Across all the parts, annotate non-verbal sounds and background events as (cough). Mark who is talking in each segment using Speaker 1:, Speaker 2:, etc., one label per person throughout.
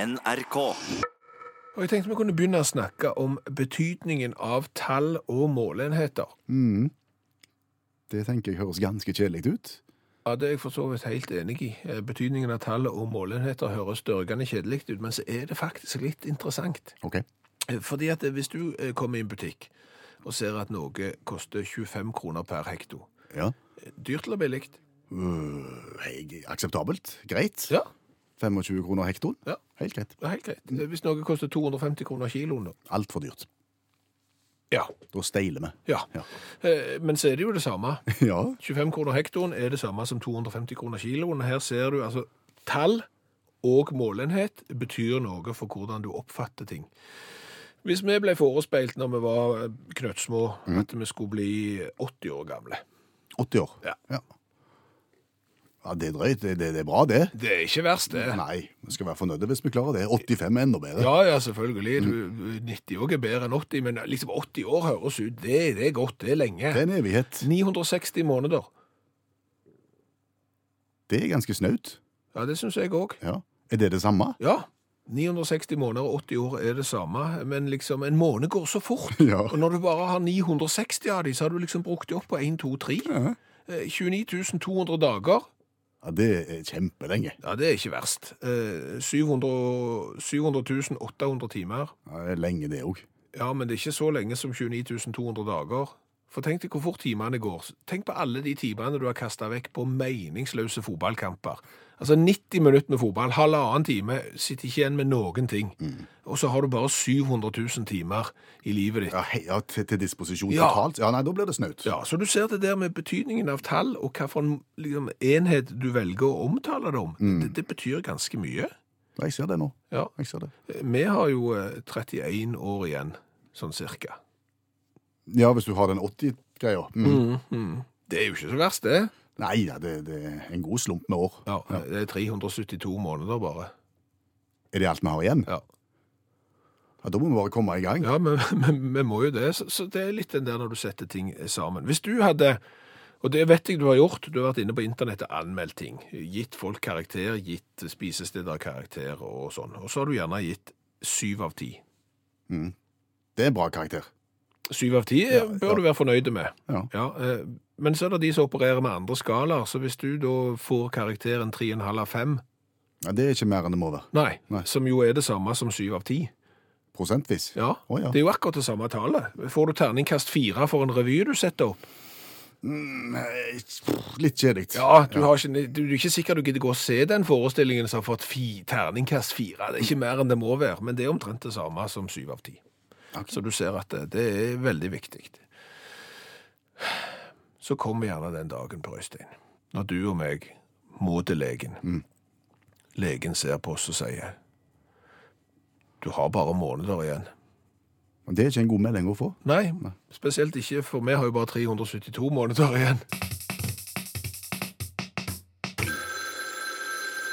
Speaker 1: NRK.
Speaker 2: Og jeg tenkte vi kunne begynne å snakke om betydningen av tall og måleenheter.
Speaker 3: Mm. Det tenker jeg høres ganske kjedelig ut.
Speaker 2: Ja, Det er jeg for så vidt helt enig i. Eh, Betydningen av tall og måleenheter høres dørgende kjedelig ut, men så er det faktisk litt interessant.
Speaker 3: Ok.
Speaker 2: Eh, Fordi at eh, hvis du eh, kommer i en butikk og ser at noe koster 25 kroner per hekto,
Speaker 3: Ja.
Speaker 2: eh, dyrt eller billig?
Speaker 3: Øh, jeg- akseptabelt. Greit.
Speaker 2: Ja,
Speaker 3: 25 kroner hektoen.
Speaker 2: Ja.
Speaker 3: Helt greit.
Speaker 2: det er helt greit. Eh, Hvis noe koster 250 kroner kiloen, da?
Speaker 3: Altfor dyrt.
Speaker 2: Ja.
Speaker 3: Da steiler vi.
Speaker 2: ja.
Speaker 3: Ja.
Speaker 2: Eh, Men så er det jo det samme.
Speaker 3: (laughs) Ja.
Speaker 2: 25 kroner hektoen er det samme som 250 kroner kiloen. Her ser du altså tall og målenhet betyr noe for hvordan du oppfatter ting. Hvis vi ble forespeilt når vi var eh, knøttsmå
Speaker 3: Mm.
Speaker 2: at vi skulle bli 80 år gamle.
Speaker 3: 80 år.
Speaker 2: Ja.
Speaker 3: ja. Ja, Det er drøyt. Det, det, det er bra, det.
Speaker 2: Det er ikke verst, det.
Speaker 3: Nei, vi skal være fornøyde hvis vi klarer det. 85 er enda bedre.
Speaker 2: Ja, ja, selvfølgelig. Du, 90 år er bedre enn 80, men liksom 80 år høres ut. Det, det er godt, det er lenge.
Speaker 3: Det er en evighet.
Speaker 2: 960 måneder.
Speaker 3: Det er ganske snaut.
Speaker 2: Ja, det syns jeg òg.
Speaker 3: Ja. Er det det samme? (laughs)
Speaker 2: Ja. 960 måneder og 80 år er det samme, men liksom en måned går så fort.
Speaker 3: Ja.
Speaker 2: Og når du bare har 960 av de, så har du liksom brukt de opp på 1, 2, 3.
Speaker 3: Ja.
Speaker 2: Eh, 29 200 dager.
Speaker 3: Ja, Det er kjempelenge.
Speaker 2: Ja, det er ikke verst. Eh, 700, 700 800 timer.
Speaker 3: Ja, det er lenge, det òg.
Speaker 2: Ja, men det er ikke så lenge som 29 200 dager. For tenk deg hvor fort timene går. Tenk på alle de timene du har kasta vekk på meningsløse fotballkamper. Altså 90 minutter med fotball, halvannen time, sitter ikke igjen med noen ting. Og så har du bare 700 000 timer i livet ditt.
Speaker 3: Ja, he- ja, til, til disposisjon
Speaker 2: Ja.
Speaker 3: totalt? Ja, nei, da blir det snaut.
Speaker 2: Ja, Så du ser det der med betydningen av tall, og hvilken liksom, enhet du velger å omtale det om. Det, det betyr ganske mye.
Speaker 3: Ja, Jeg ser det nå.
Speaker 2: Ja.
Speaker 3: Jeg ser det.
Speaker 2: Vi har jo eh, 31 år igjen, sånn cirka.
Speaker 3: Ja, hvis du har den 80-greia. Mm.
Speaker 2: Det er jo ikke så verst, det.
Speaker 3: Nei, ja, det, det er en god slump med år.
Speaker 2: Ja, det er 372 måneder bare.
Speaker 3: Er det alt vi har igjen?
Speaker 2: Ja,
Speaker 3: Ja, da må vi bare komme i gang.
Speaker 2: ja men (laughs) men vi må jo det. Så, så det er litt den der når du setter ting sammen. Hvis du hadde, og det vet jeg du har gjort, du har vært inne på internettet og anmeldt ting. Gitt folk karakter, gitt spisesteder karakter og sånn. Og så har du gjerne gitt syv av ti.
Speaker 3: Mm. Det er en bra karakter.
Speaker 2: Syv av ti eh,
Speaker 3: Ja,
Speaker 2: bør
Speaker 3: ja.
Speaker 2: du være fornøyd med.
Speaker 3: Ja.
Speaker 2: eh, men så er det de som opererer med andre skalaer, så hvis du da får karakteren 3,5 av 5,
Speaker 3: Ja, det er ikke mer enn det må være.
Speaker 2: nei,
Speaker 3: Nei.
Speaker 2: som jo er det samme som 7 av 10,
Speaker 3: Prosentvis.
Speaker 2: Ja,
Speaker 3: Å, ja.
Speaker 2: det er jo akkurat det samme tallet. Får du terningkast fire for en revy du setter opp?
Speaker 3: Nei, pff, Litt kjedelig.
Speaker 2: Ja, du, Har ikke, du, du er ikke sikker du gidder gå og se den forestillingen som har fått fi, terningkast fire. Det er ikke mer enn det må være, men det er omtrent det samme som syv av ti.
Speaker 3: Ok.
Speaker 2: Så du ser at det, det er veldig viktig. Så kommer gjerne den dagen på Øystein, når du og meg må til legen. Legen ser på oss og sier, du har bare måneder igjen.
Speaker 3: Det er ikke en god melding å få.
Speaker 2: Nei, spesielt ikke, for vi har jo bare 372 måneder igjen.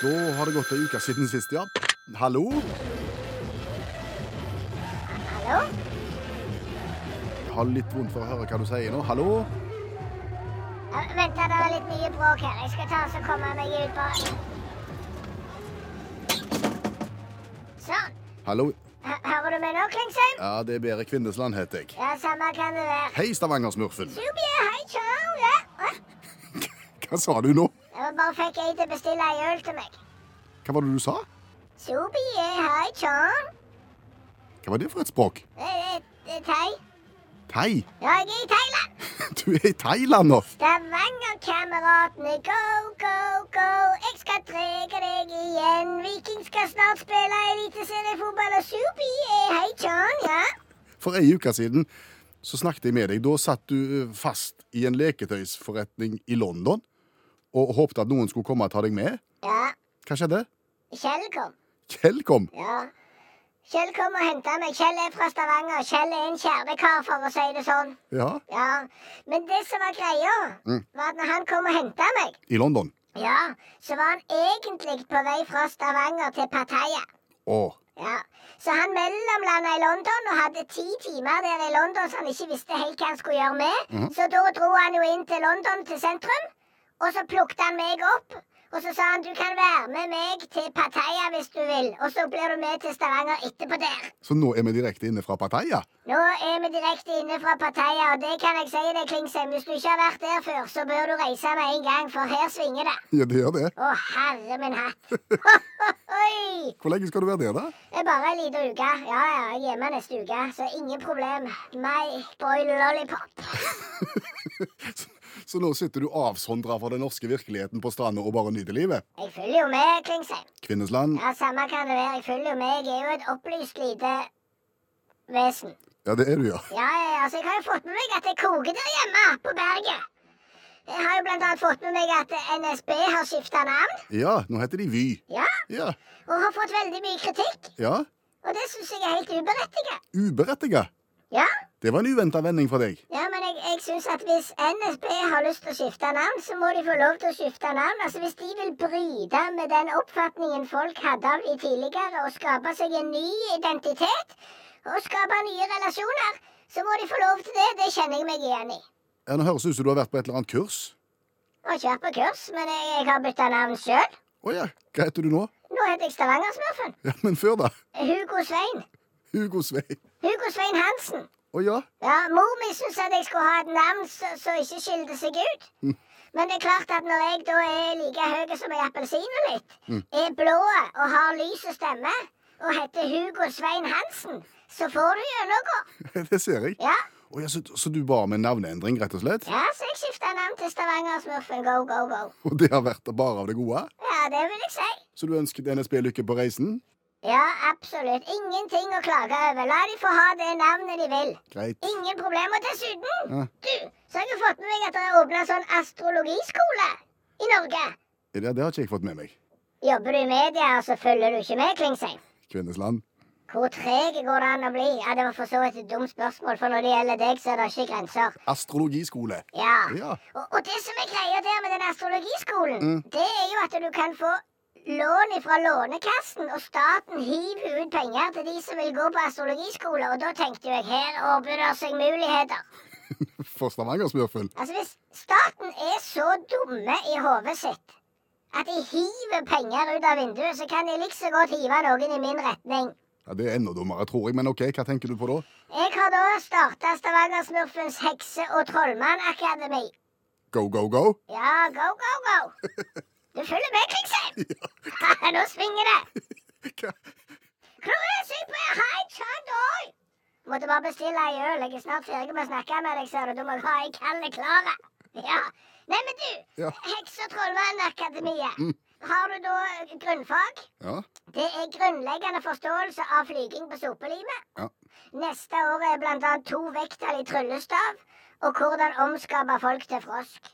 Speaker 3: Da har det gått en uke siden sist, ja. Hallo?
Speaker 4: Hallo?
Speaker 3: Jeg har litt vondt for å høre hva du sier nå. Hallo?
Speaker 4: Ja, Vent, da, det er litt mye bråk her. Jeg skal ta oss og komme meg ut på Sånn.
Speaker 3: Hallo?
Speaker 4: H Hører du meg nå, Klingsheim?
Speaker 3: Ja, det er Bere Kvindesland, heter jeg.
Speaker 4: Ja, samme kan det være.
Speaker 3: Hei, Stavanger-smurfen.
Speaker 4: Subie, hei, Charlie. Hva?
Speaker 3: Hva sa du nå?
Speaker 4: Det var bare fikk jeg til å bestille ei øl til meg.
Speaker 3: Hva var det du sa?
Speaker 4: Subie, hei, Charlie.
Speaker 3: Hva var det for et språk?
Speaker 4: Det er- det er Thai.
Speaker 3: Thai? (laughs)
Speaker 4: Ja, jeg er i Thailand.
Speaker 3: Du er i Thailand nå!
Speaker 4: Stavanger-kameratene, go, go, go. Jeg skal trege deg igjen. Viking skal snart spille eliteseriefotball, og Subie, hei, Charlie. Ja.
Speaker 3: For ei uke siden så snakket jeg med deg. Da satt du eh, fast i en leketøysforretning i London og håpte at noen skulle komme og ta deg med.
Speaker 4: Ja,
Speaker 3: Hva skjedde?
Speaker 4: Kjell kom.
Speaker 3: Kjell kom.
Speaker 4: Ja. Kjell kom og henta meg. Kjell er fra Stavanger. Kjell er en kjernekar, for å si det sånn.
Speaker 3: Ja,
Speaker 4: Ja. Men det som var greia, var at når han kom og henta meg,
Speaker 3: i London.
Speaker 4: ja, så var han egentlig på vei fra Stavanger til Pattaya.
Speaker 3: Å,
Speaker 4: Ja. Så han mellomlanda i London og hadde ti timer der i London så han ikke visste helt hva han skulle gjøre med. Så da dro han jo inn til London, til sentrum, og så plukket han meg opp. Og så sa han du kan være med meg til Pattaya hvis du vil. Og så blir du med til Stavanger etterpå der.
Speaker 3: Så nå er vi direkte inne fra Pattaya. (laughs)
Speaker 4: Nå er vi direkte inne fra Pattaya, og det kan jeg si deg, Klingsheim. Hvis du ikke har vært der før, så bør du reise med en gang, for her svinger det.
Speaker 3: Ja, det gjør det.
Speaker 4: Å, herre min hatt. (laughs) Oi!
Speaker 3: Hvor lenge skal du være der, da? (laughs)
Speaker 4: Det er bare ei lita uke. Ja, ja, jeg er hjemme neste uke, så ingen problem. My boy lollipop.
Speaker 3: Så nå sitter du avsondra fra den norske virkeligheten på stranda og bare nyter livet.
Speaker 4: Jeg følger jo med, Klingsheim.
Speaker 3: Kvinnesland.
Speaker 4: Ja, samme kan det være. Jeg følger jo med. Jeg er jo et opplyst lite vesen.
Speaker 3: Ja, det er du, ja.
Speaker 4: Ja, ja, ja, altså, jeg har jo fått med meg at det koker der hjemme, på berget. Jeg har jo blant annet fått med meg at NSB har skifta navn.
Speaker 3: Ja, nå heter de Vy.
Speaker 4: Ja,
Speaker 3: Ja.
Speaker 4: og har fått veldig mye kritikk.
Speaker 3: ja.
Speaker 4: Og det syns jeg er helt uberettiget.
Speaker 3: Uberettiga.
Speaker 4: Ja,
Speaker 3: Det var en uventa vending fra deg.
Speaker 4: ja men jeg, jeg syns at hvis NSB har lyst til å skifte navn, så må de få lov til å skifte navn. Altså Hvis de vil bryte med den oppfatningen folk hadde av de tidligere, og skape seg en ny identitet, og skape nye relasjoner, så må de få lov til det. Det kjenner jeg meg igjen i.
Speaker 3: Ja, Nå høres det ut som du har vært på et eller annet kurs.
Speaker 4: Jeg har ikke vært på kurs, men jeg, jeg har bytta navn sjøl.
Speaker 3: Å ja, hva heter du nå?
Speaker 4: Nå heter jeg Stavangersmurfen.
Speaker 3: Ja, Men før, da?
Speaker 4: Hugo Svein.
Speaker 3: Hugo Svein.
Speaker 4: Hugo Svein Hansen.
Speaker 3: Å ja. (laughs)
Speaker 4: Ja, mor mi syntes at jeg skulle ha et navn som som ikke skilte seg ut. Men det er klart at når jeg da er like høy som ei appelsin og litt, er blå og har lys og stemme, og heter Hugo Svein Hansen, så får du jo noe.
Speaker 3: Det ser jeg.
Speaker 4: Ja,
Speaker 3: Å ja, så, så du ba om en navneendring, rett og slett?
Speaker 4: ja så jeg skifta navn til Stavangersmurfen Go Go Go.
Speaker 3: Og det har vært bare av det gode?
Speaker 4: Ja, det vil jeg si.
Speaker 3: Så du ønsket NSB lykke på reisen?
Speaker 4: Ja, absolutt. Ingenting å klage over. La de få ha det navnet de vil.
Speaker 3: Greit.
Speaker 4: Ingen problem. Og dessuten,
Speaker 3: Ja.
Speaker 4: du, så har jeg jo fått med meg at det er åpna sånn astrologiskole i Norge.
Speaker 3: Ja, det har ikke jeg fått med meg.
Speaker 4: Jobber du i media, så følger du ikke med, Klingsheim?
Speaker 3: Kvinnesland.
Speaker 4: Hvor treg går det an å bli? Ja, Det var for så vidt et dumt spørsmål, for når det gjelder deg, så er det ikke grenser.
Speaker 3: Astrologiskole.
Speaker 4: Ja.
Speaker 3: Ja.
Speaker 4: Og, og det som er greia der med den astrologiskolen, det er jo at du kan få lån ifra Lånekassen, og staten hiver ut penger til de som vil gå på astrologiskole, og da tenkte jo jeg her åpner det seg muligheter.
Speaker 3: For Stavanger-smurfen.
Speaker 4: Altså, hvis staten er så dumme i hodet sitt at de hiver penger ut av vinduet, så kan de like så godt hive noen i min retning.
Speaker 3: Ja, det er enda dummere, tror jeg. Men OK, hva tenker du på da?
Speaker 4: Jeg har da starta Stavangersmurfens hekse- og trollmannakademi.
Speaker 3: Go, go, go? (laughs)
Speaker 4: Ja, go, go, go! Du følger med, Klingsheim? Nå svinger det!
Speaker 3: Hva?
Speaker 4: Cruisekeeper, hei, Chan Doi! Måtte bare bestille ei øl. Jeg er snart ferdig med å snakke med deg, ser du. Du må ha ei kald klar. Ja. Nei, men du,
Speaker 3: Ja.
Speaker 4: Hekse- og trollmannakademiet. Har du da grunnfag?
Speaker 3: Ja.
Speaker 4: Det er grunnleggende forståelse av flyging på sopelimet.
Speaker 3: Ja.
Speaker 4: Neste år er blant annet to vekttall i tryllestav og hvordan omskape folk til frosk.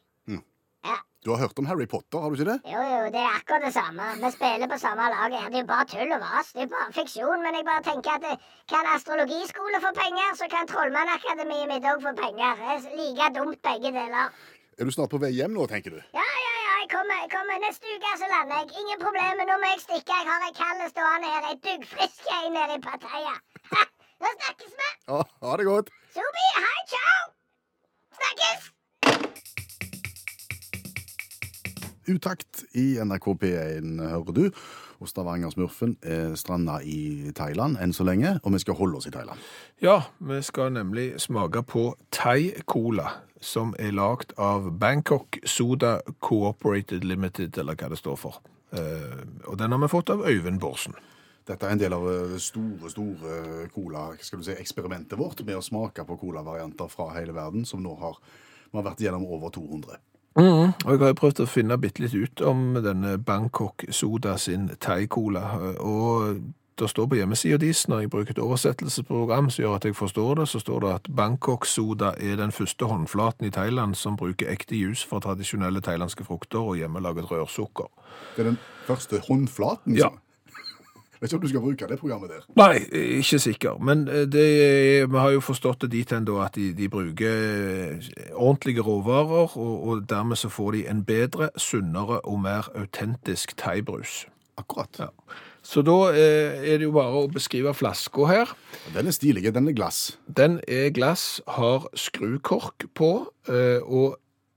Speaker 3: Du har hørt om Harry Potter, har du ikke det?
Speaker 4: Jo, jo, det er akkurat det samme. Vi spiller på samme lag. her. Det er jo bare tull og vas. Det er jo bare fiksjon. Men jeg bare tenker at eh, kan astrologiskole få penger, så kan Trollmannakademiet mitt òg få penger. Det er like dumt begge deler.
Speaker 3: Er du snart på vei hjem nå, tenker du?
Speaker 4: Ja, ja, ja, jeg kommer. jeg kommer. Neste uke så lander jeg. Ingen problemer, nå må jeg stikke. Jeg har ei kald stående her. Ei duggfrisk ei nede i Pattaya. (laughs) Ha, Nå snakkes vi!
Speaker 3: Ja, ha det godt.
Speaker 4: Sobi, hei, ciao! Snakkes!
Speaker 3: Utakt i NRK P1, hører du. Og Stavanger-smurfen er stranda i Thailand enn så lenge, og vi skal holde oss i Thailand.
Speaker 2: Ja, vi skal nemlig smake på Thai Cola, som er lagd av Bangkok Soda Cooperated Limited, eller hva det står for. Eh, og den har vi fått av Øyvind Bårdsen.
Speaker 3: Dette er en del av eh, det store, store eh, cola, hva skal du si, eksperimentet vårt med å smake på colavarianter fra hele verden, som nå har, vi har vært gjennom over 200.
Speaker 2: Og jeg har jo prøvd å finne bitte litt ut om denne Bangkok Soda sin Thai Cola, eh, og det står på hjemmesida deres, når jeg bruker et oversettelsesprogram som gjør at jeg forstår det, så står det at Bangkok Soda er den første håndflaten i Thailand som bruker ekte jus fra tradisjonelle thailandske frukter og hjemmelaget rørsukker.
Speaker 3: Det er den første håndflaten.
Speaker 2: Ja.
Speaker 3: som- (laughs) Vet ikke om du skal bruke det programmet der.
Speaker 2: Nei, ikke sikker. Men eh, det, er- vi har jo forstått det dit hen da at de, de bruker eh, ordentlige råvarer, og, og dermed så får de en bedre, sunnere og mer autentisk thaibrus.
Speaker 3: Akkurat.
Speaker 2: Så da eh, er det jo bare å beskrive flaska her.
Speaker 3: Den er stilig, den er glass.
Speaker 2: Den er glass, har skrukork på, eh, og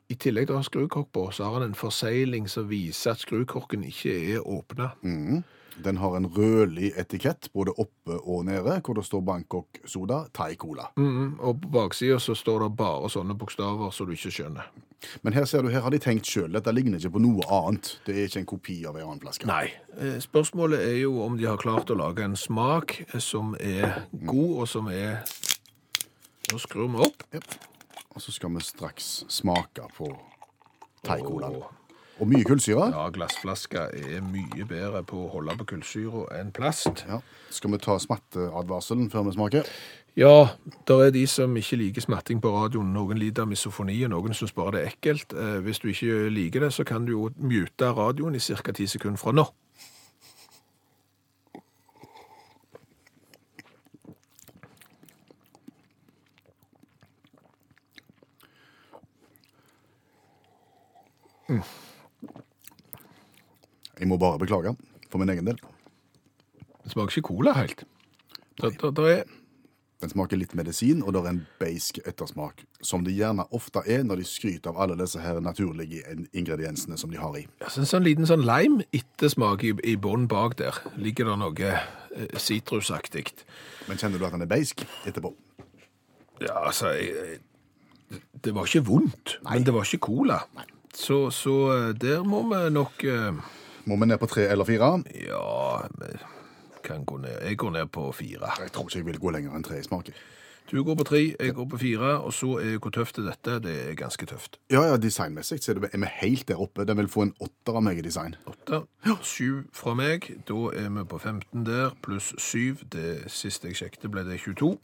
Speaker 2: I tillegg til å ha skrukork på, så har han en forsegling som viser at skrukorken ikke er åpna.
Speaker 3: Mhm. Den har en rødlig etikett både oppe og nede, hvor det står Bangkok Soda, Thai Cola.
Speaker 2: Mhm, og på baksida så står det bare sånne bokstaver som du ikke skjønner.
Speaker 3: Men her ser du, her har de tenkt sjøl. Dette ligner ikke på noe annet. Det er ikke en kopi av en annen flaske.
Speaker 2: Nei. Eh, Spørsmålet er jo om de har klart å lage en smak som er god, og som er Nå skrur vi opp.
Speaker 3: Og så skal vi straks smake på Thai Cola.
Speaker 2: Åh.
Speaker 3: Og mye kullsyre.
Speaker 2: Ja, glassflasker er mye bedre på å holde på kullsyra enn plast.
Speaker 3: Ja. Skal vi ta smatteadvarselen før vi smaker?
Speaker 2: Ja, det er de som ikke liker smatting på radioen. Noen lider av misofoni, og noen syns bare det er ekkelt. Eh, Hvis du ikke liker det, så kan du jo mute radioen i ca. ti sekunder fra nå.
Speaker 3: Jeg må bare beklage for min egen del.
Speaker 2: Det smaker ikke cola helt. Det, det, det er
Speaker 3: Den smaker litt medisin, og det er en beisk ettersmak, som det gjerne ofte er når de skryter av alle disse her naturlige in- ingrediensene som de har i.
Speaker 2: Jeg synes en liten sånn lime ettersmak i, i bånn bak der. Ligger det noe eh, sitrusaktig?
Speaker 3: Men kjenner du at den er beisk etterpå?
Speaker 2: ja, altså jeg, jeg, Det var ikke vondt, men det var ikke cola. Så, så eh, der må vi nok eh,
Speaker 3: Må vi ned på tre eller fire?
Speaker 2: Ja vi kan gå ned. Jeg går ned på fire.
Speaker 3: Jeg tror ikke jeg vil gå lenger enn tre i smaken.
Speaker 2: Du går på tre, jeg går på fire, og så er hvor tøft er dette? Det er ganske tøft.
Speaker 3: Ja, ja, designmessig så er det- er vi helt der oppe. Den vil få en åtter av meg i design.
Speaker 2: Åtte. Sju fra meg. Da er vi på 15 der, pluss syv. Det siste jeg sjekket, ble det 22.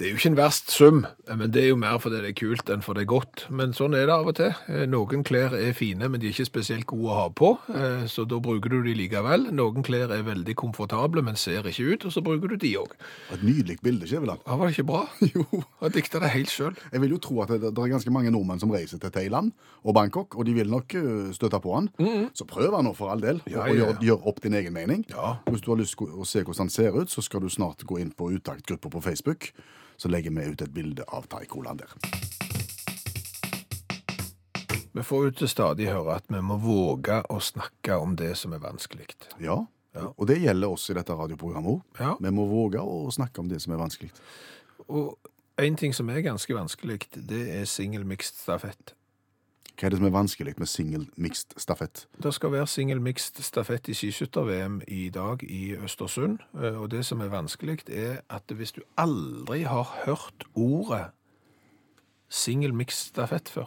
Speaker 2: Det er jo ikke en verst sum, men det er jo mer fordi det er kult enn fordi det er godt. Men sånn er det av og til. Eh, Noen klær er fine, men de er ikke spesielt gode å ha på, eh, så da bruker du de likevel. Noen klær er veldig komfortable, men ser ikke ut, og så bruker du de òg.
Speaker 3: Og Et nydelig bilde, ikke vel? da?
Speaker 2: Var det ikke bra? (laughs)
Speaker 3: Jo.
Speaker 2: Jeg dikta det helt sjøl.
Speaker 3: Jeg vil jo tro at det, det er ganske mange nordmenn som reiser til Thailand og Bangkok, og de vil nok øh, støtte på han. Så prøv han nå for all del,
Speaker 2: Mm. Ja,
Speaker 3: og,
Speaker 2: ja,
Speaker 3: og gjør,
Speaker 2: ja.
Speaker 3: gjør opp din egen mening.
Speaker 2: Ja.
Speaker 3: Hvis du har lyst å se hvordan han ser ut, så skal du snart gå inn på utaktgruppa på Facebook. Så legger vi ut et bilde av Thai-colaen der.
Speaker 2: Vi får jo til stadig høre at vi må våge å snakke om det som er vanskelig.
Speaker 3: Ja. Og det gjelder oss i dette radioprogrammet òg.
Speaker 2: Ja.
Speaker 3: Vi må våge å snakke om det som er vanskelig.
Speaker 2: Og en ting som er ganske vanskelig, det er single mixed stafett.
Speaker 3: Hva er det som er vanskelig med single mixed stafett?
Speaker 2: Det skal være single mixed stafett i skiskytter-VM i dag i Østersund. eh, Og det som er vanskelig, er at hvis du aldri har hørt ordet single mixed stafett før,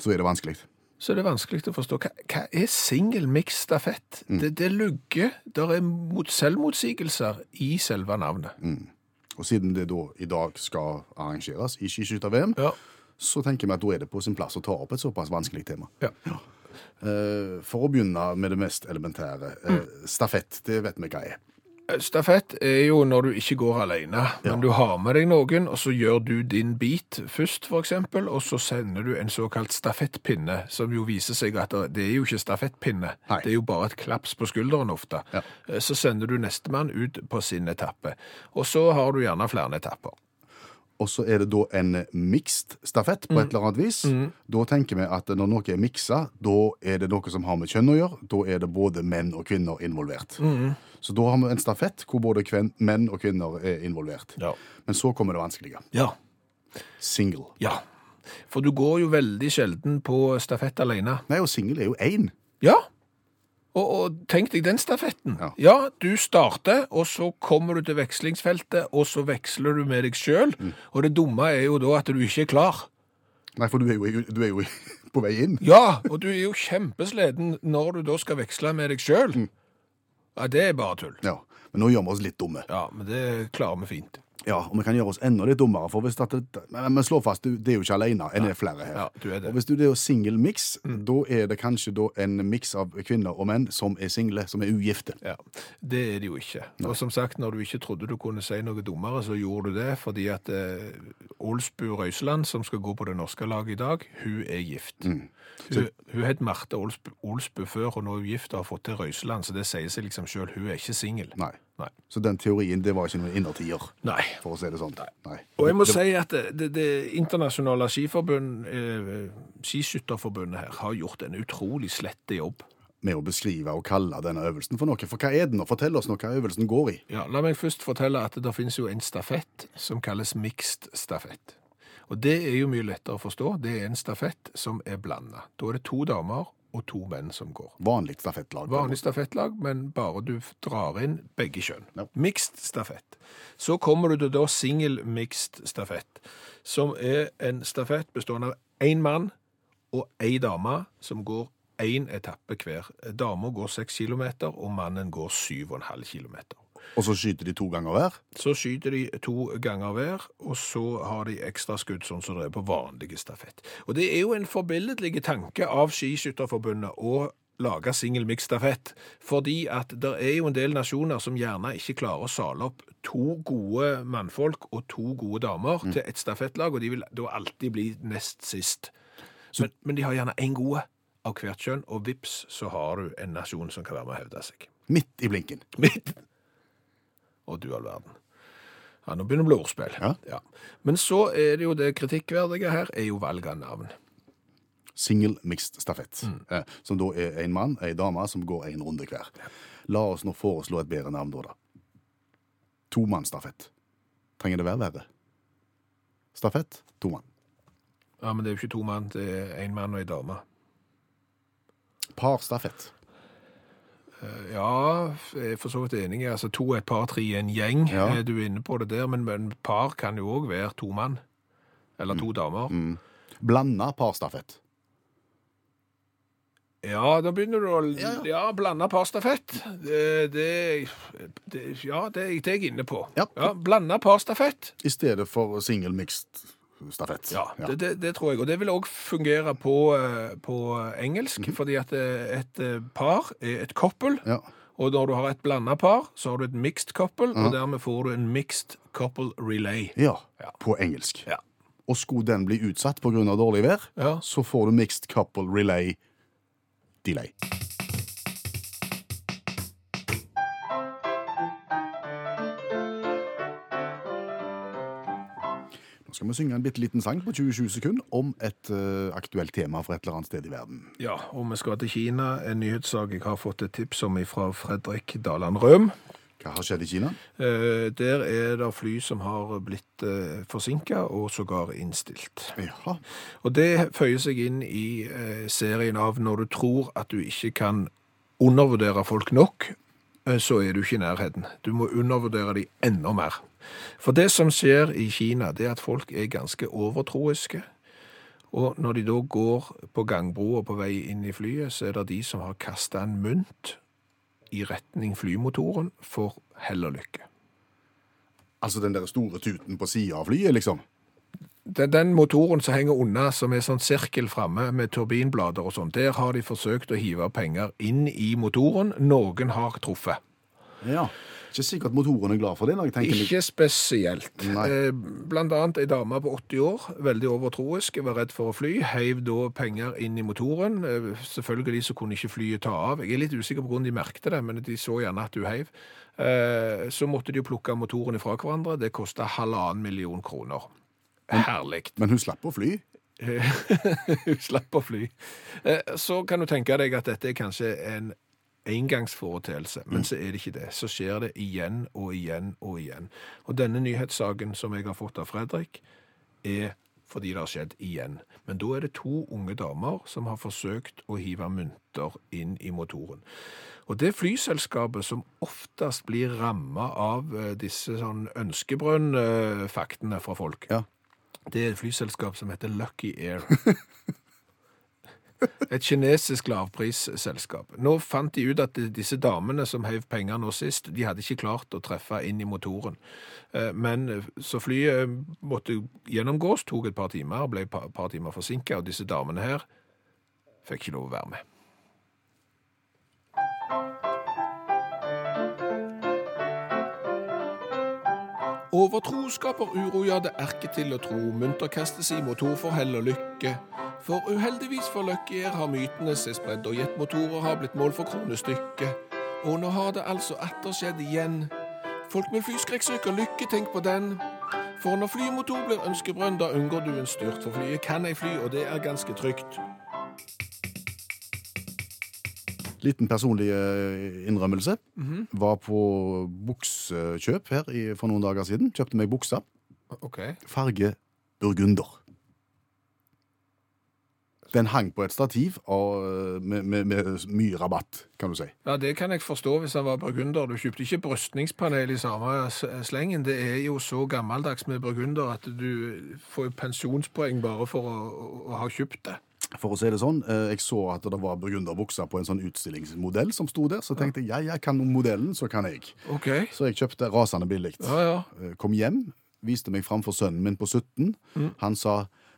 Speaker 3: Så er det vanskelig.
Speaker 2: så er det vanskelig å forstå. Hva, hva er single mixed stafett? Det, det lugger. Der er mot selvmotsigelser i selve navnet.
Speaker 3: Og siden det da i dag skal arrangeres i skiskytter-VM,
Speaker 2: Ja.
Speaker 3: så tenker vi at da er det på sin plass å ta opp et såpass vanskelig tema.
Speaker 2: ja.
Speaker 3: Eh, For å begynne med det mest elementære. eh,
Speaker 2: Mm.
Speaker 3: Stafett, det vet vi hva er.
Speaker 2: Stafett er jo når du ikke går alene, men du har med deg noen, og så gjør du din bit først, for eksempel, og så sender du en såkalt stafettpinne, som jo viser seg at det er jo ikke stafettpinne,
Speaker 3: Nei.
Speaker 2: det er jo bare et klaps på skulderen ofte.
Speaker 3: Ja.
Speaker 2: Eh, Så sender du nestemann ut på sin etappe, og så har du gjerne flere etapper.
Speaker 3: Og så er det da en mixed stafett på et eller annet vis. Da tenker vi at når noe er miksa, da er det noe som har med kjønn å gjøre. Da er det både menn og kvinner involvert. Så da har vi en stafett hvor både kven, menn og kvinner er involvert.
Speaker 2: Ja.
Speaker 3: Men så kommer det vanskelige.
Speaker 2: Ja.
Speaker 3: Single.
Speaker 2: Ja. For du går jo veldig sjelden på stafett alene.
Speaker 3: Nei, og single er jo én.
Speaker 2: Ja. Og, og tenk deg den stafetten.
Speaker 3: Ja.
Speaker 2: du starter, og så kommer du til vekslingsfeltet, og så veksler du med deg sjøl. Og det dumme er jo da at du ikke er klar.
Speaker 3: Nei, for du er jo, i- du er jo i- (laughs) på vei inn.
Speaker 2: Ja, og du er jo kjempesliten når du da skal veksle med deg sjøl. Ja, det er bare tull.
Speaker 3: Ja, Men nå gjør vi oss litt dumme.
Speaker 2: Ja, men det klarer vi fint.
Speaker 3: Ja, og vi kan gjøre oss enda litt dummere, for hvis at det, men men slå fast, du, det er jo ikke alene, en er flere her.
Speaker 2: Ja, du er det. Mm.
Speaker 3: Og hvis du det er single mix, da er det kanskje da en mix av kvinner og menn som er single, som er ugifte.
Speaker 2: Ja, Det er det jo ikke. Og som sagt, når du ikke trodde du kunne si noe dummere, så gjorde du det fordi at eh, Olsbu Røiseland, som skal gå på det norske laget i dag, hun er gift.
Speaker 3: Mm.
Speaker 2: Hun, hun het Marte Olsbu, Olsbu før, og nå er hun gift og har fått til Røiseland, så det sier seg liksom sjøl. Hun er ikke singel.
Speaker 3: Nei.
Speaker 2: Nei.
Speaker 3: Så den teorien, det var ikke noen innertier,
Speaker 2: Nei.
Speaker 3: for å si det sånn. Nei.
Speaker 2: Og jeg må
Speaker 3: Det-
Speaker 2: si at det, det, det internasjonale skiforbund, eh, skiskytterforbundet her, har gjort en utrolig slette jobb.
Speaker 3: Med å beskrive og kalle denne øvelsen for noe. For hva er den? Og Fortell oss nå hva øvelsen går i.
Speaker 2: Ja, la meg først fortelle at det finnes jo en stafett som kalles mixed stafett. Og det er jo mye lettere å forstå. Det er en stafett som er blanda. Da er det to damer og to menn som går.
Speaker 3: Vanlig stafettlag.
Speaker 2: Vanlig stafettlag, men bare du drar inn begge kjønn.
Speaker 3: Ja.
Speaker 2: Mixed stafett. Så kommer du til da single mixed stafett, som er en stafett bestående av én mann og ei dame, som går én etappe hver. Dama går seks kilometer, og mannen går syv og en halv kilometer.
Speaker 3: Og så skyter de to ganger hver.
Speaker 2: Så skyter de to ganger hver, og så har de ekstra skudd, sånn som det er på vanlige stafett. Og det er jo en forbilledlig tanke av Skiskytterforbundet å lage singelmiksstafett, fordi at det er jo en del nasjoner som gjerne ikke klarer å sale opp to gode mannfolk og to gode damer til et stafettlag, og de vil da alltid bli nest sist. Men, men de har gjerne én gode av hvert kjønn, og vips, så har du en nasjon som kan være med å hevde seg.
Speaker 3: Midt i blinken.
Speaker 2: Mitt. Og du all verden. Ja, nå begynner det å bli ordspill.
Speaker 3: Ja.
Speaker 2: Men så er det jo det kritikkverdige her, er jo valg av navn.
Speaker 3: Single mixed stafett.
Speaker 2: Mm.
Speaker 3: Eh, som da er en mann, ei dame, som går en runde hver. La oss nå foreslå et bedre navn, da. da. Tomannsstafett. Trenger det være verre? Stafett, tomann.
Speaker 2: Ja, men det er jo ikke to mann, det er en mann og en dame.
Speaker 3: Parstafett.
Speaker 2: Ja, jeg er for så vidt enig. Altså to, et par, tre, en gjeng.
Speaker 3: Ja.
Speaker 2: Eh, Du er inne på det der, men, men par kan jo òg være to mann. Eller
Speaker 3: Mm.
Speaker 2: to damer.
Speaker 3: Blanda parstafett.
Speaker 2: Ja, da begynner du å ja, blande parstafett. Det, det, det, ja, det, er jeg- det er jeg inne på.
Speaker 3: Ja.
Speaker 2: blande parstafett.
Speaker 3: I stedet for single mixed stafett.
Speaker 2: Ja, Det, det, det tror jeg. Og det vil òg fungere på, eh, på engelsk, fordi at eh, et eh, par er et koppel.
Speaker 3: Ja.
Speaker 2: Og når du har et blanda par, så har du et mixed couple, og dermed får du en mixed couple relay.
Speaker 3: Ja,
Speaker 2: Ja.
Speaker 3: På engelsk.
Speaker 2: Ja.
Speaker 3: Og skulle den bli utsatt pga. dårlig vær,
Speaker 2: Ja.
Speaker 3: så får du mixed couple relay delay. Nå skal vi synge en bitte liten sang på 20-20 sekunder om et eh, aktuelt tema fra et eller annet sted i verden.
Speaker 2: ja, og vi skal til Kina. En nyhetssak jeg har fått et tips om fra Fredrik Daland Røm.
Speaker 3: Hva har skjedd i Kina?
Speaker 2: Eh, Der er det fly som har blitt eh, forsinka og sågar innstilt.
Speaker 3: Ja,
Speaker 2: Og det føyer seg inn i eh, serien av når du tror at du ikke kan undervurdere folk nok, eh, så er du ikke i nærheten. Du må undervurdere de enda mer. For det som skjer i Kina, det er at folk er ganske overtroiske. Og når de da går på gangbroer på vei inn i flyet, så er det de som har kasta en mynt i retning flymotoren for hell og lykke.
Speaker 3: altså den der store tuten på sida av flyet, liksom.
Speaker 2: den, den motoren som henger unna, som er sånn sirkel framme med turbinblader og sånn, der har de forsøkt å hive penger inn i motoren. Noen har truffet.
Speaker 3: Ja. Ikke sikkert motoren er glad for det. når jeg tenker litt-
Speaker 2: Ikke spesielt.
Speaker 3: Nei.
Speaker 2: Eh, Blant annet ei dame på 80 år, veldig overtroisk, var redd for å fly, heiv da penger inn i motoren. Eh, Selvfølgelig så kunne ikke flyet ta av. Jeg er litt usikker på hvordan de merkte det, men de så gjerne at du heiv. Eh, Så måtte de jo plukke motoren ifra hverandre. Det kosta halvannen million kroner. Herlig.
Speaker 3: Men hun slapp å fly.
Speaker 2: Eh, (laughs) Hun slapp å fly. Eh, Så kan du tenke deg at dette er kanskje en engangsforeteelse, men så er det ikke det. Så skjer det igjen og igjen og igjen. Og denne nyhetssaken som jeg har fått av Fredrik, er fordi det har skjedd igjen. Men da er det to unge damer som har forsøkt å hive mynter inn i motoren. Og det flyselskapet som oftest blir rammet av eh, disse sånn ønskebrønn-faktene fra folk,
Speaker 3: Ja.
Speaker 2: det er et flyselskap som heter Lucky Air. (laughs) Et kinesisk lavprisselskap. Nå fant de ut at disse damene som heiv penger nå sist, de hadde ikke klart å treffe inn i motoren. Eh, Men så flyet måtte gjennomgås, tok et par timer, ble et par- par timer forsinka, og disse damene her fikk ikke lov å være med. Overtro skaper uro, ja, det er ikke til å tro. Munter kastes i motor for hell og lykke. For uheldigvis for Lucky Air har mytene seg spredd, og jetmotorer har blitt mål for kronestykket. Og nå har det altså atter skjedd igjen. Folk med flyskrekksyke og lykke, tenk på den. For når flymotor blir ønskebrønn, da unngår du en styrt. For flyet kan ei fly, og det er ganske trygt.
Speaker 3: Liten personlig eh, innrømmelse.
Speaker 2: Mhm.
Speaker 3: Var på buksekjøp her i, for noen dager siden. Kjøpte meg buksa.
Speaker 2: OK.
Speaker 3: Farge burgunder. Den hang på et stativ og, eh, med, med, med mye rabatt, kan du si.
Speaker 2: Ja, Det kan jeg forstå hvis han var burgunder. Du kjøpte ikke brystningspanel i samme s- slengen. Det er jo så gammeldags med burgunder at du får jo pensjonspoeng bare for å, å- å ha kjøpt det.
Speaker 3: For å si det sånn, eh, Jeg så at det var burgunderbukser på en sånn utstillingsmodell som sto der. Så tenkte jeg ja, jeg kan modellen, så kan jeg.
Speaker 2: OK.
Speaker 3: Så jeg kjøpte rasende billig.
Speaker 2: Ja, ja.
Speaker 3: Eh, Kom hjem, viste meg framfor sønnen min på 17.
Speaker 2: Mm.
Speaker 3: Han sa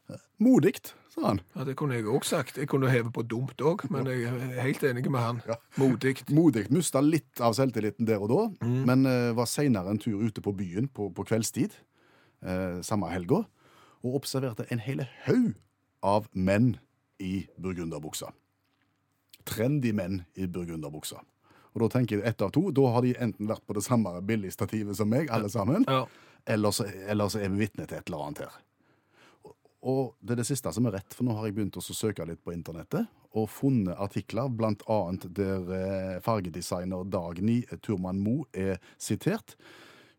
Speaker 3: "Eh, modigt, sa han.
Speaker 2: ja det kunne jeg òg sagt. Jeg kunne heve på dumt òg, men jeg er helt enig med han. Modig.
Speaker 3: Modig. Mista litt av selvtilliten der og da, men eh, var seinere en tur ute på byen på, på kveldstid eh, samme helga og observerte en hel haug av menn i burgunderbuksa. Trendy menn i burgunderbuksa. Og da tenker jeg ett av to. Da har de enten vært på det samme billigstativet som meg, alle sammen,
Speaker 2: (laughs) Ja.
Speaker 3: eller så, eller så er vi vitne til et eller annet her. Og det er det siste som er rett, for nå har jeg begynt å søke litt på internettet, og funnet artikler, blant annet der eh, fargedesigner Dagny Turman Mo er sitert.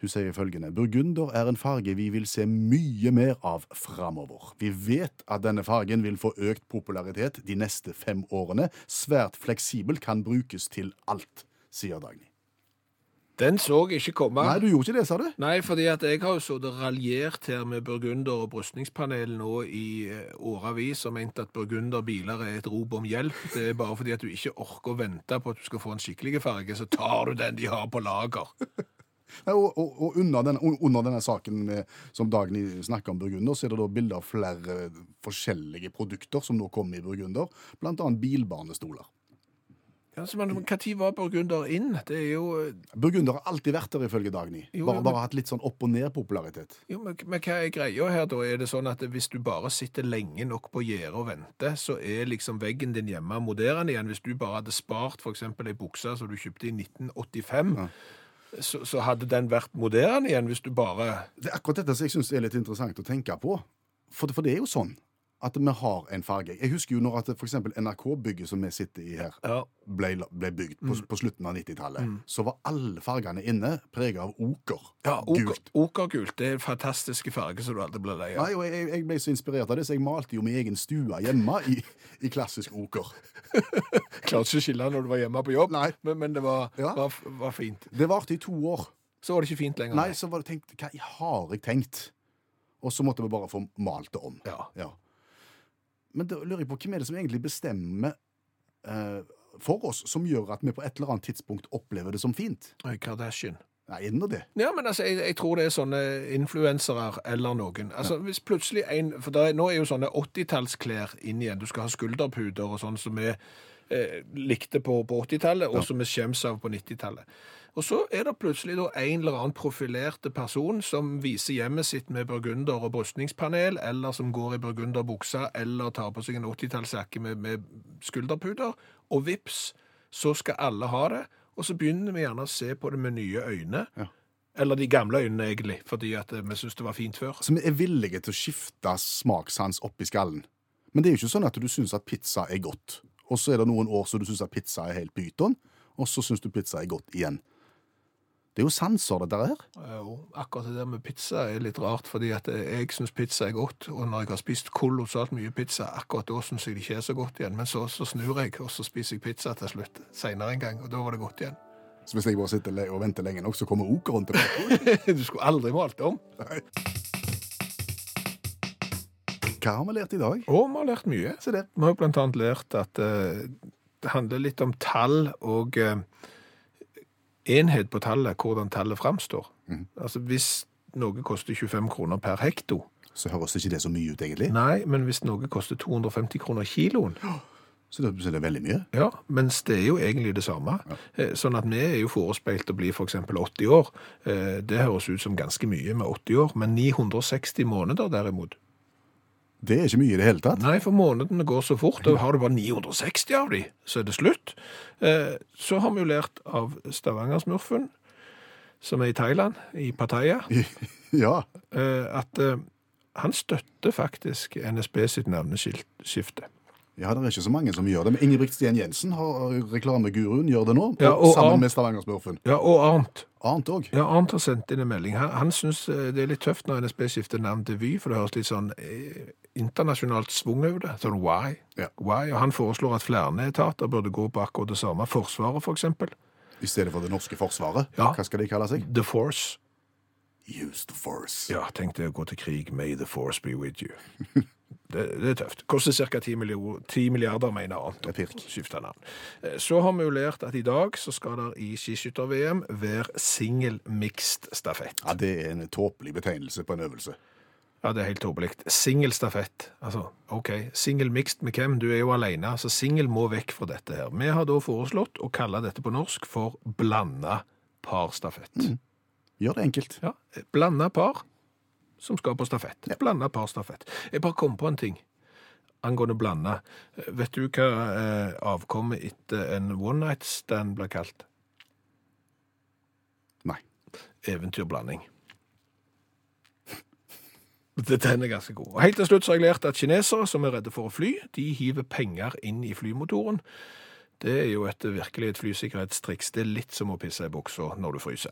Speaker 3: Hun sier følgende, Burgunder er en farge vi vil se mye mer av framover. Vi vet at denne fargen vil få økt popularitet de neste fem årene. Svært fleksibel, kan brukes til alt, sier Dagny.
Speaker 2: Den så jeg ikke komme.
Speaker 3: Nei, du gjorde ikke det, sa du?
Speaker 2: Nei, fordi at jeg har jo så det raljert her med burgunder og brystningspanel nå i eh, årevis, og ment at burgunderbiler er et rop om hjelp. Det er bare fordi at du ikke orker å vente på at du skal få en skikkelig farge, så tar du den de har på lager.
Speaker 3: Nei, og og, og under, denne, un- under denne saken eh, som Dagny snakker om burgunder, så er det da bilder av flere eh, forskjellige produkter som nå kommer i burgunder, blant annet bilbarnestoler.
Speaker 2: Altså, men hva tid var burgunder inn? Det er jo eh,
Speaker 3: Burgunder har alltid vært der, ifølge Dagny.
Speaker 2: Jo,
Speaker 3: Bare,
Speaker 2: jo, men-
Speaker 3: bare hatt litt sånn opp- og ned-popularitet.
Speaker 2: Jo, men, men hva er greia her da? Er det sånn at hvis du bare sitter lenge nok på gjerdet og venter, så er liksom veggen din hjemme moderne igjen? Hvis du bare hadde spart f.eks. ei bukse som du kjøpte i 1985, så, så hadde den vært moderne igjen hvis du bare
Speaker 3: Det er akkurat dette som jeg syns er litt interessant å tenke på. For, for det er jo sånn at vi har en farge. Jeg husker jo når at f.eks. NRK-bygget som vi sitter i her,
Speaker 2: Ja.
Speaker 3: ble, la- ble bygd på,
Speaker 2: Mm.
Speaker 3: på slutten av 90-tallet, så var alle fargene inne prega av oker.
Speaker 2: oker-
Speaker 3: Gult.
Speaker 2: Okergult. Det er en fantastisk farge som du aldri blir lei av.
Speaker 3: Nei, og jeg, jeg ble så inspirert av det, så jeg malte jo min egen stue hjemme i, i klassisk oker.
Speaker 2: Klarte ikke å skille når du var hjemme på jobb,
Speaker 3: Nei.
Speaker 2: men, men det var,
Speaker 3: Ja.
Speaker 2: var, var fint.
Speaker 3: Det varte i to år.
Speaker 2: Så var det ikke fint lenger.
Speaker 3: Nei, så var det tenkt, hva har jeg tenkt? Og så måtte vi bare få malt det om.
Speaker 2: Ja.
Speaker 3: Men da lurer jeg på, hvem er det som egentlig bestemmer eh, for oss, som gjør at vi på et eller annet tidspunkt opplever det som fint?
Speaker 2: Oi, Kardashian.
Speaker 3: Nei, er det nå det?
Speaker 2: Ja, men altså, jeg, jeg tror det er sånne influensere eller noen. Altså, hvis plutselig en, for der, er- nå er jo sånne 80-tallsklær inn igjen. Du skal ha skulderpuder og sånn som vi eh, likte på, på 80-tallet, og som vi skjems av på 90-tallet. Og så er det plutselig da en eller annen profilerte person som viser hjemmet sitt med burgunder og brystningspanel, eller som går i burgunderbuksa, eller tar på seg en 80-tallsjakke med, med skulderpuder, og vips, så skal alle ha det. Og så begynner vi gjerne å se på det med nye øyne. Eller de gamle øynene, egentlig, fordi at eh, vi syntes det var fint før.
Speaker 3: Så vi er villige til å skifte smakssans opp i skallen. Men det er jo ikke sånn at du syns at pizza er godt, og så er det noen år så du syns at pizza er helt pyton, og så syns du pizza er godt igjen. Det er jo sanser, dette her.
Speaker 2: Jo, Eh, akkurat det der med pizza er litt rart, fordi at eh, jeg syns pizza er godt, og når jeg har spist kolossalt mye pizza, akkurat da syns jeg det ikke er så godt igjen. Men så, så snur jeg, og så spiser jeg pizza til slutt seinere en gang, og da var det godt igjen. (laughs)
Speaker 3: Så hvis jeg bare sitter le- og venter lenge nok, så kommer okeren tilbake.
Speaker 2: (laughs) du skulle aldri malt om.
Speaker 3: Hva har vi lært i dag?
Speaker 2: Og vi har lært mye.
Speaker 3: Se det.
Speaker 2: Vi har jo blant annet lært at eh, det handler litt om tall og eh, enhet på tallet, hvordan tallet framstår. Altså hvis noe koster 25 kroner per hekto,
Speaker 3: Så høres ikke det så mye ut, egentlig.
Speaker 2: Nei, men hvis noe koster 250 kroner kiloen,
Speaker 3: Så det, så det er veldig mye.
Speaker 2: ja, mens det er jo egentlig det samme. Eh, Sånn at vi er jo forespeilt å bli for eksempel 80 år. Eh, Det høres ut som ganske mye med 80 år, men 960 måneder derimot.
Speaker 3: Det er ikke mye i det hele tatt. (laughs)
Speaker 2: Nei, for månedene går så fort, og har du bare 960 av de, så er det slutt. Eh, Så har vi jo lært av Stavangersmurfen, som er i Thailand, i Pattaya,
Speaker 3: ja.
Speaker 2: eh, at eh, han støtter faktisk NSB sitt navneskifte.
Speaker 3: ja, det er ikke så mange som gjør det. Men Ingebrigt Sten Jensen, har reklameguruen, gjør det nå.
Speaker 2: Ja, og Arnt-
Speaker 3: sammen med Stavanger-smurfen.
Speaker 2: Ja, og Arnt.
Speaker 3: Annet òg.
Speaker 2: Ja, Arnt har sendt inn en melding. Han, han syns eh, det er litt tøft når NSB skifter navn til Vy, for det høres litt sånn eh, internasjonalt svung over det. Sånn why?
Speaker 3: Ja.
Speaker 2: why? Og han foreslår at flere etater burde gå på akkurat det samme. Forsvaret, for eksempel.
Speaker 3: I stedet for det norske forsvaret.
Speaker 2: Ja.
Speaker 3: Hva skal de kalle seg?
Speaker 2: The Force.
Speaker 3: Use the force.
Speaker 2: Ja, tenk deg å gå til krig. May the force be with
Speaker 3: (laughs)
Speaker 2: you. Det, det er tøft. Koster ca. 10, millio- 10 milliarder, mener Arnt.
Speaker 3: Det er pirk.
Speaker 2: å Skifte navn. Eh, Så har vi jo lært at i dag så skal det i skiskytter-VM være singel mixed-stafett.
Speaker 3: Ja, Det er en tåpelig betegnelse på en øvelse.
Speaker 2: Ja, det er helt tåpelig. Singel-stafett. Altså, OK, singel mixed med hvem? Du er jo alene, så singel må vekk fra dette her. Vi har da foreslått å kalle dette på norsk for blanda parstafett.
Speaker 3: Gjør det enkelt.
Speaker 2: Ja, blanda par som skal på stafett. Blanda par-stafett. Jeg bare kom på en ting angående blanda. Eh, Vet du hva eh, avkommet etter en one night stand ble kalt?
Speaker 3: Nei.
Speaker 2: Eventyrblanding. (laughs) Det- Den er ganske god. Og Helt til slutt så har jeg lært at kinesere som er redde for å fly, de hiver penger inn i flymotoren. Det er jo et virkelig et flysikkerhetstriks. Det er litt som å pisse i buksa når du fryser.